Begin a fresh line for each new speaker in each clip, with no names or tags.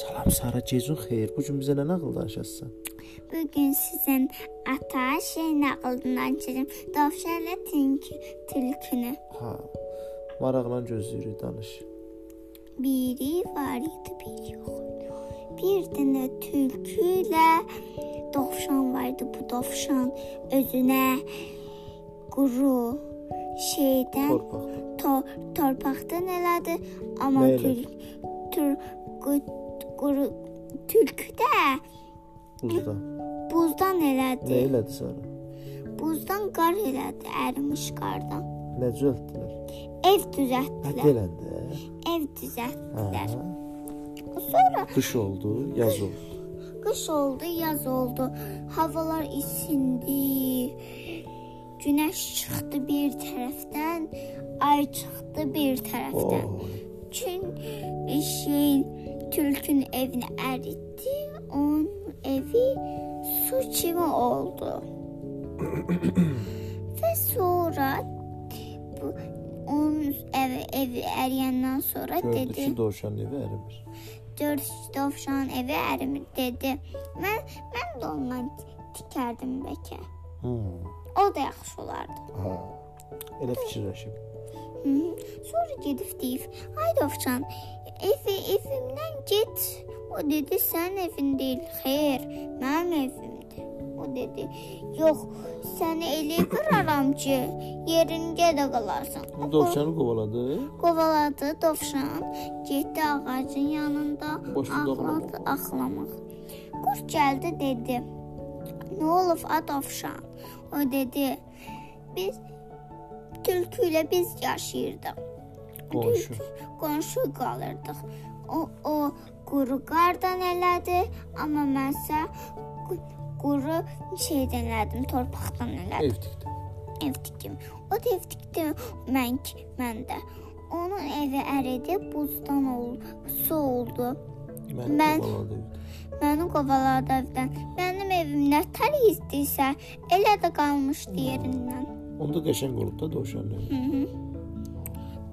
Salam Sara, gecən xeyir. Bu gün bizə nə nağıl danışasan?
Bu gün sizin ata şey nağılından keçirəm. Dovşanla tülkü, tülkünü.
Ha. Maraqla gözləyirik danış.
Biri var idi, biri yox idi. Bir dənə tülkü ilə dovşan var idi. Bu dovşan özünə quru şeydən
Torpaq.
to torpaqdan elədi, amma
Nə elədi?
tül tül quru tülkü də
Buzda.
buzdan elədi.
Nə elədi Sara?
Buzdan qar elədi, ərimiş qardan.
Nə düzəltdilər?
Ev
Hə,
düzəltdilər.
deləndə.
Ev
Hə.
düzəltdilər. Sonra
Qış oldu, yaz oldu.
qış oldu, yaz oldu. Havalar isindi. Günəş çıxdı bir tərəfdən, ay çıxdı bir tərəfdən.
Oh.
Çün şey tülkün evini əritdi. Onun evi su kimi oldu. Və sonra bu onun evi, evi əriyəndən sonra
Gördü
dedi.
ki, dovşan evi ərimir.
Dörd dovşan evi ərimir dedi. Mən mən də ondan tikərdim bəlkə.
Hmm.
O da yaxşı olardı.
Ha. Elə fikirləşib.
Hı -hı. Sonra gedib deyib, "Ay dovşan, evi evimdən get." O dedi, "Sənin evin deyil, xeyr, mənim evimdir." O dedi, "Yox, səni elə qıraram ki, yerində də qalarsan."
O dovşanı qovaladı.
Qovaladı dovşan, getdi ağacın yanında
Başını
ağladı, ağlamaq. Qurd gəldi dedi: "Nə olub a dovşan?" O dedi: "Biz tülkü ilə biz yaşayırdıq.
Qonşu.
Qonşu qalırdıq. O o quru qardan elədi, amma mənsə quru şeydən elədim, torpaqdan elədim
Ev tikdi.
ev tikdim. O da ev tikdi mən ki, mən də. Onun evi əridi, buzdan oldu, su oldu.
Mən,
Mən-
qovaladı evdə.
Məni qovaladı evdən. Mənim evim nə tər istisə, elə də qalmışdı yerindən.
Onda qəşəng olub da dovşan evi.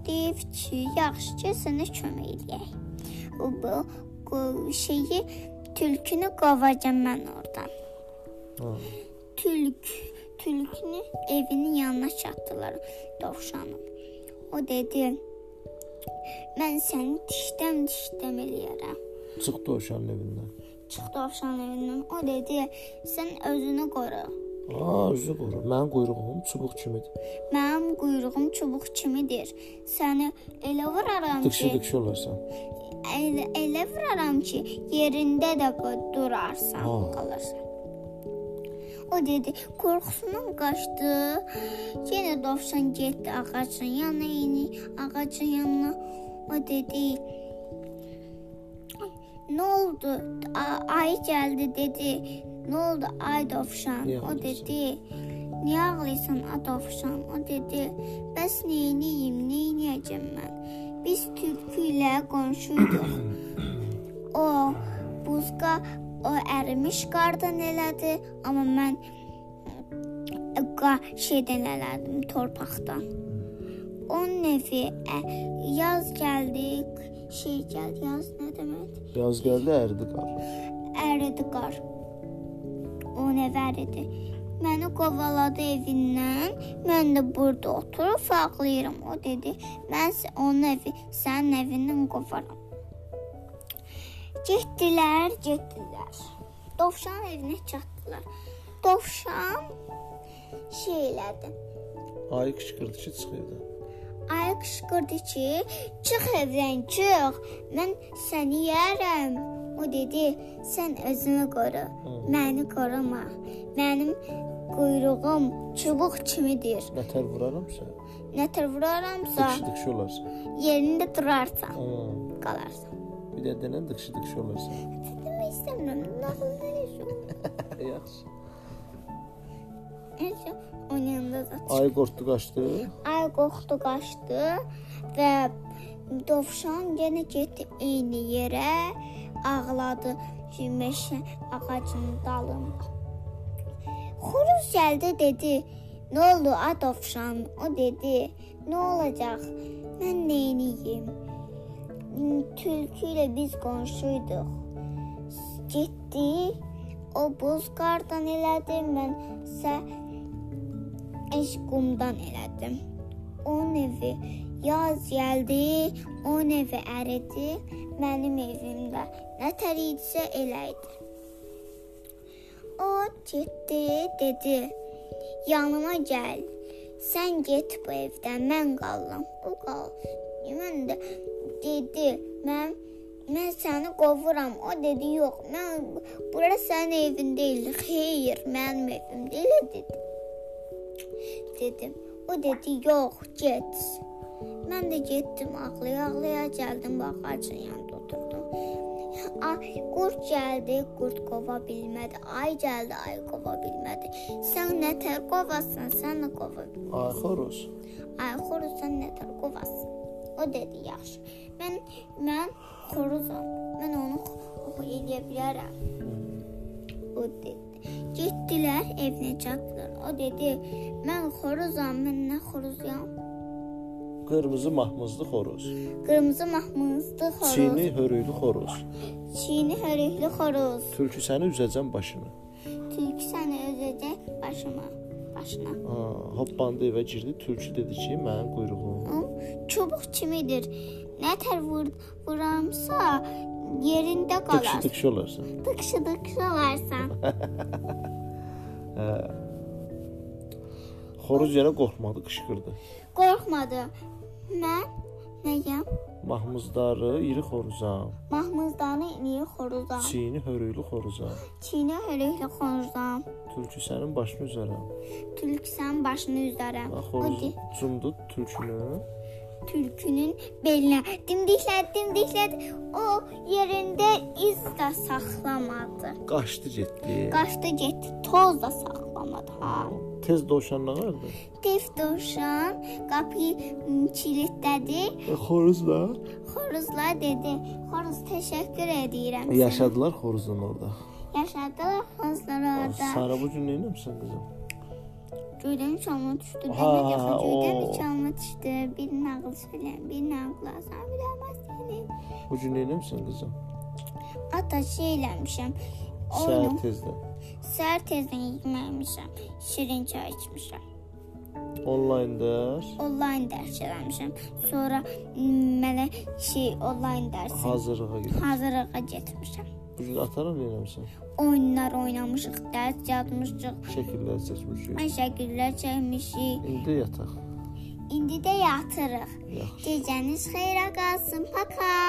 Deyib ki, yaxşı ki, sənə kömək eləyək. O bu qo- şeyi tülkünü qovacam mən oradan.
Ha.
Tülk tülkünü evinin yanına çatdılar dovşanın. O dedi: "Mən səni dişdən dişdən eləyərəm."
Çıx dovşanın evindən.
Çıx dovşan evindən. O dedi: "Sən özünü qoru.
Aa, üzü qoru. Mənim quyruğum çubuq kimidir.
Mənim quyruğum çubuq kimidir. Səni elə vuraram
Dışı
ki,
dışı olarsan.
elə, elə vuraram ki, yerində də qo- durarsan,
Ha.
qalırsan." O dedi, qorxusundan qaçdı. Yenə dovşan getdi ağacın yanına, yeni ağacın yanına. O dedi, "Nə oldu? A- Ay gəldi" dedi. "Nə oldu ay dovşan?"
Niyə
O
ağlayırsan?
dedi, "Niyə ağlayırsan ay dovşan?" O dedi, "Bəs nə edeyim, nə edəcəm mən? Biz tülkü ilə qonşuyduq." o buzqa o ərimiş qardan elədi, amma mən qa- şeydən elədim, torpaqdan. Onun evi ə, yaz gəldi, şey gəldi, yaz nə deməkdir?
Yaz gəldi əridi qar.
əridi qar. O nə vəridi? Məni qovaladı evindən. Mən də burada oturub ağlayıram. O dedi: "Mən sə- onun evi, sənin evindən qovaram." Getdilər, getdilər. Dovşan evinə çatdılar. Dovşan şey elədi.
Ay qışqırdı ki, çıx evdən.
Ay qışqırdı ki, çıx evdən çıx. Mən səni yeyərəm. O dedi, sən özünü qoru. Məni qoruma. Mənim quyruğum çubuq kimidir.
Nətər vuraram sən.
Nətər vuraramsa,
Dışı dışı olarsan.
yerində durarsan,
Ha.
qalarsan.
Bir də denən dışı dışı olarsan.
Demək istəmirəm. Nağıl verəcəm.
Yaxşı.
Nəysə, onun yanında da çıx.
Ay qorxdu qaçdı.
Ay qorxdu, qaçdı və dovşan yenə getdi eyni yerə, ağladı meşə ağacının dalında. Xoruz gəldi dedi: "Nə oldu a dovşan?" O dedi: "Nə olacaq? Mən nə edeyim? m, Tülküyle biz komşuyduk. Gitti. O bozkardan elədim mən. Sə eşqumdan elədim. Onun evi yaz gəldi, onun evi əridi. Mənim evimdə nə tər idisə elə idi. O getdi, dedi. Yanıma gəl. Sən get bu evdən, mən qalıram. O qal. Mən də dedi, mən mən səni qovuram. O dedi, yox, mən bura sənin evin deyil. Xeyr, mənim evim deyil dedi dedim. O dedi, yox, get. Mən də getdim, ağlaya-ağlaya gəldim, bax ağacın yanında oturdum. Ay, qurd gəldi, qurd qova bilmədi. Ay gəldi, ay qova bilmədi. Sən nə tər qovasan, sən nə qova bilmədi.
Ay xoruz.
Ay, xoruz sən nə tər qovasan? O dedi, yaxşı. Mən mən xoruzam. Mən onu oxu eləyə bilərəm. O dedi. Getdilər evinə çatdılar. O dedi, mən xoruzam, mən nə xoruzam?
Qırmızı mahmızlı xoruz.
Qırmızı mahmızlı xoruz, çini,
Çini hörüklü xoruz.
çini hörükli xoruz.
Tülkü səni üzəcəm başını.
Tülkü səni özəcək başıma, başına.
Ha, hoppandı evə girdi. Tülkü dedi ki, mənim quyruğum.
Am, Çubuq kimidir. Nə tər vur, vuramsa yerində qalar.
Tıkşı tıkşı olarsan.
Tıkışıdık olarsan.
Xoruz yenə qorxmadı, qışqırdı.
Qorxmadı. Mən nəyəm?
Mahmuzdarı iri xoruzam.
Mahmuzdanı niyə xoruzam?
Çini hörüklü xoruzam.
Çiynə hörüklə xoruzam.
Tülkü sənin başını üzərəm.
Tülküsən başını üzərəm.
Ha, xoruz
Hadi
cumdu tülkünü.
tülkünün belinə dimdiklədi, dimdiklədi. O yerində iz də saxlamadı.
Qaçdı getdi.
Qaçdı getdi, toz da saxlamadı ha.
Tez dovşanla vardı.
Tez dovşan qapıyı m, çilitlədi.
E, xoruzla
Xoruzla dedi: "Xoruz, təşəkkür edirəm." sənə."
yaşadılar xoruzun orada.
Yaşadılar xoruzlar orada.
Sara bu gün nə etmisən qızım?
Göydən çalma düşdü.
Ha,
Demək yaxın
o.
göydən çalma düşdü. Bir nağıl söyləyəm, bir nağıl asan biləməz səni.
Bu gün nə etmisən qızım?
Ata şey eləmişəm.
Səhər
Oyunu
tezdən.
səhər tezdən yeməmişəm. Şirin çay içmişəm.
Onlaynda
Onlayn dərs eləmişəm. Sonra m, mənə şey onlayn dərsi
hazırlığa gedir.
hazırlığa getmişəm.
Bu gün atana nə etmisən?
Oyunlar oynamışıq, dərs yazmışıq.
Şəkillər seçmişik.
Mən şəkillər çəkmişik.
İndi yataq.
İndi də yatırıq.
Yaxşı.
Gecəniz xeyrə qalsın. Paka.